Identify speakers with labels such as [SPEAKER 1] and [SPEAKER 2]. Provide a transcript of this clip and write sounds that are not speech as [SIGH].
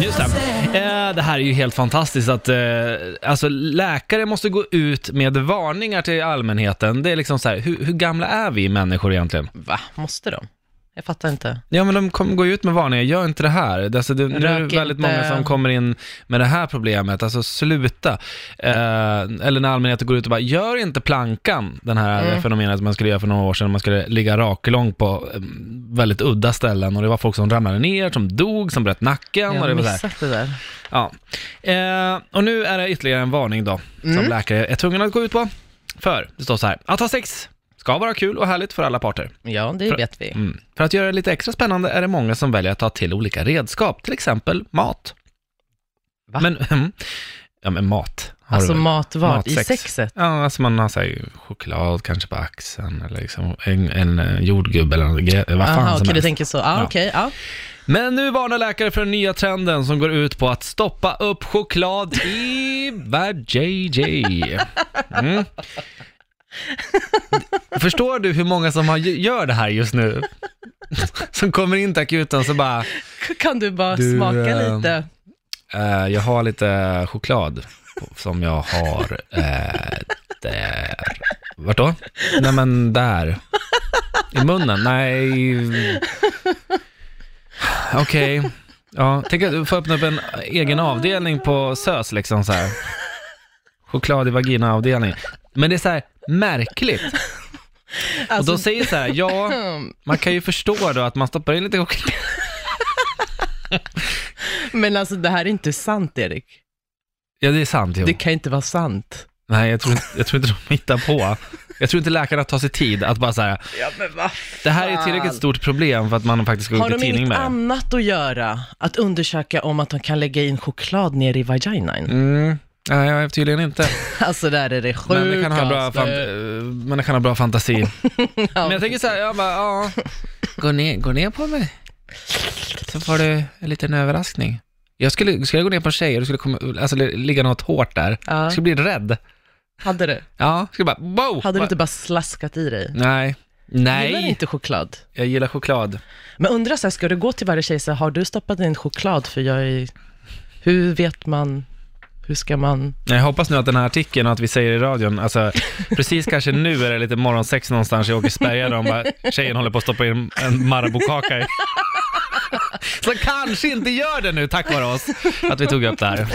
[SPEAKER 1] Just det. Eh, det här är ju helt fantastiskt att eh, alltså, läkare måste gå ut med varningar till allmänheten. Det är liksom så här, hur, hur gamla är vi människor egentligen?
[SPEAKER 2] Va? Måste de? Jag fattar inte.
[SPEAKER 1] Ja, men de kommer gå ut med varningar, gör inte det här. Det- Alltså, det, nu är det
[SPEAKER 2] Rök
[SPEAKER 1] väldigt
[SPEAKER 2] inte.
[SPEAKER 1] många som kommer in med det här problemet, alltså sluta. Eh, eller när allmänheten går ut och bara, gör inte plankan, den här
[SPEAKER 2] Mm.
[SPEAKER 1] fenomenet som man skulle göra för några år sedan, man skulle ligga raklång på eh, väldigt udda ställen och det var folk som ramlade ner, som dog, som bröt nacken och det
[SPEAKER 2] Jag har
[SPEAKER 1] var så här.
[SPEAKER 2] missat det där.
[SPEAKER 1] Ja. Eh, och nu är det ytterligare en varning då,
[SPEAKER 2] Mm.
[SPEAKER 1] som läkare är tvungen att gå ut på. För, det står så här, att ha sex ska vara kul och härligt för alla parter.
[SPEAKER 2] Ja, det
[SPEAKER 1] För-
[SPEAKER 2] vet vi.
[SPEAKER 1] Mm. För att göra det lite extra spännande är det många som väljer att ta till olika redskap, till exempel mat.
[SPEAKER 2] Va?
[SPEAKER 1] Men, [LAUGHS] mm. ja men mat. har
[SPEAKER 2] Alltså
[SPEAKER 1] du väl?
[SPEAKER 2] matvard i
[SPEAKER 1] Matsex.
[SPEAKER 2] sexet.
[SPEAKER 1] Ja, alltså man har så här, choklad kanske på axeln eller liksom en, en eh, jordgubbe eller något gre- vad fan
[SPEAKER 2] Jaha,
[SPEAKER 1] som
[SPEAKER 2] okej, du
[SPEAKER 1] helst.
[SPEAKER 2] tänker så. Ah,
[SPEAKER 1] Ja.
[SPEAKER 2] ja, okej. ja.
[SPEAKER 1] Men nu varnar läkare för den nya trenden som går ut på att stoppa upp choklad i vad JJ. Mm. Förstår du hur många som har, gör det här just nu? Som kommer in till akuten och så bara,
[SPEAKER 2] Kan du bara
[SPEAKER 1] Du,
[SPEAKER 2] smaka
[SPEAKER 1] eh,
[SPEAKER 2] lite?
[SPEAKER 1] eh, jag har lite choklad på- som jag har eh, där. Vart då? Nej men där. I munnen? Nej. Okej. Ja, tänk att du får öppna upp en egen avdelning på SÖS liksom så här. Choklad i vagina-avdelning. Men det är så här märkligt. Och
[SPEAKER 2] Alltså,
[SPEAKER 1] de säger så här, ja,
[SPEAKER 2] mm,
[SPEAKER 1] man kan ju förstå då att man stoppar in lite choklad.
[SPEAKER 2] men alltså det här är inte sant, Erik.
[SPEAKER 1] Ja, det är sant jo.
[SPEAKER 2] Det kan inte vara sant.
[SPEAKER 1] Nej, jag tror, inte, jag tror inte de hittar på. Jag tror inte läkarna tar sig tid att bara så här,
[SPEAKER 2] Ja, men va?
[SPEAKER 1] det här är ett tillräckligt stort problem för att man faktiskt ska gå
[SPEAKER 2] Har
[SPEAKER 1] ut i
[SPEAKER 2] de
[SPEAKER 1] tidning
[SPEAKER 2] inget
[SPEAKER 1] med det.
[SPEAKER 2] annat att göra? Att undersöka om att de kan lägga in choklad ner i vaginan?
[SPEAKER 1] Mm. Nej, jag är tydligen inte.
[SPEAKER 2] Alltså där är det
[SPEAKER 1] Men det, kan ha bra
[SPEAKER 2] sjukaste.
[SPEAKER 1] fan, eh, men det kan ha bra fantasi.
[SPEAKER 2] [LAUGHS] Ja.
[SPEAKER 1] Men jag tänker så här, jag bara, ja. Gå ner, gå ner på mig. Så får du en liten överraskning. Jag skulle, skulle jag gå ner på en tjej och du skulle komma, alltså, ligga något hårt där.
[SPEAKER 2] Ja.
[SPEAKER 1] Jag skulle bli rädd.
[SPEAKER 2] Hade du?
[SPEAKER 1] Ja, jag skulle bara, wow!
[SPEAKER 2] Hade du inte bara slaskat i dig?
[SPEAKER 1] Nej.
[SPEAKER 2] Gillar du
[SPEAKER 1] Nej,
[SPEAKER 2] inte choklad?
[SPEAKER 1] jag gillar choklad.
[SPEAKER 2] Men undrar så här, ska du gå till varje tjej så här, har du stoppat in choklad för jag är... Hur vet man, hur ska man...
[SPEAKER 1] Jag hoppas nu att den här artikeln och att vi säger i radion, alltså [LAUGHS] precis kanske nu är det lite morgonsex någonstans i Åkersberga där de bara, tjejen håller på att stoppa in en Marabou-kaka i. Så kanske inte gör det nu tack vare oss, att vi tog upp det här.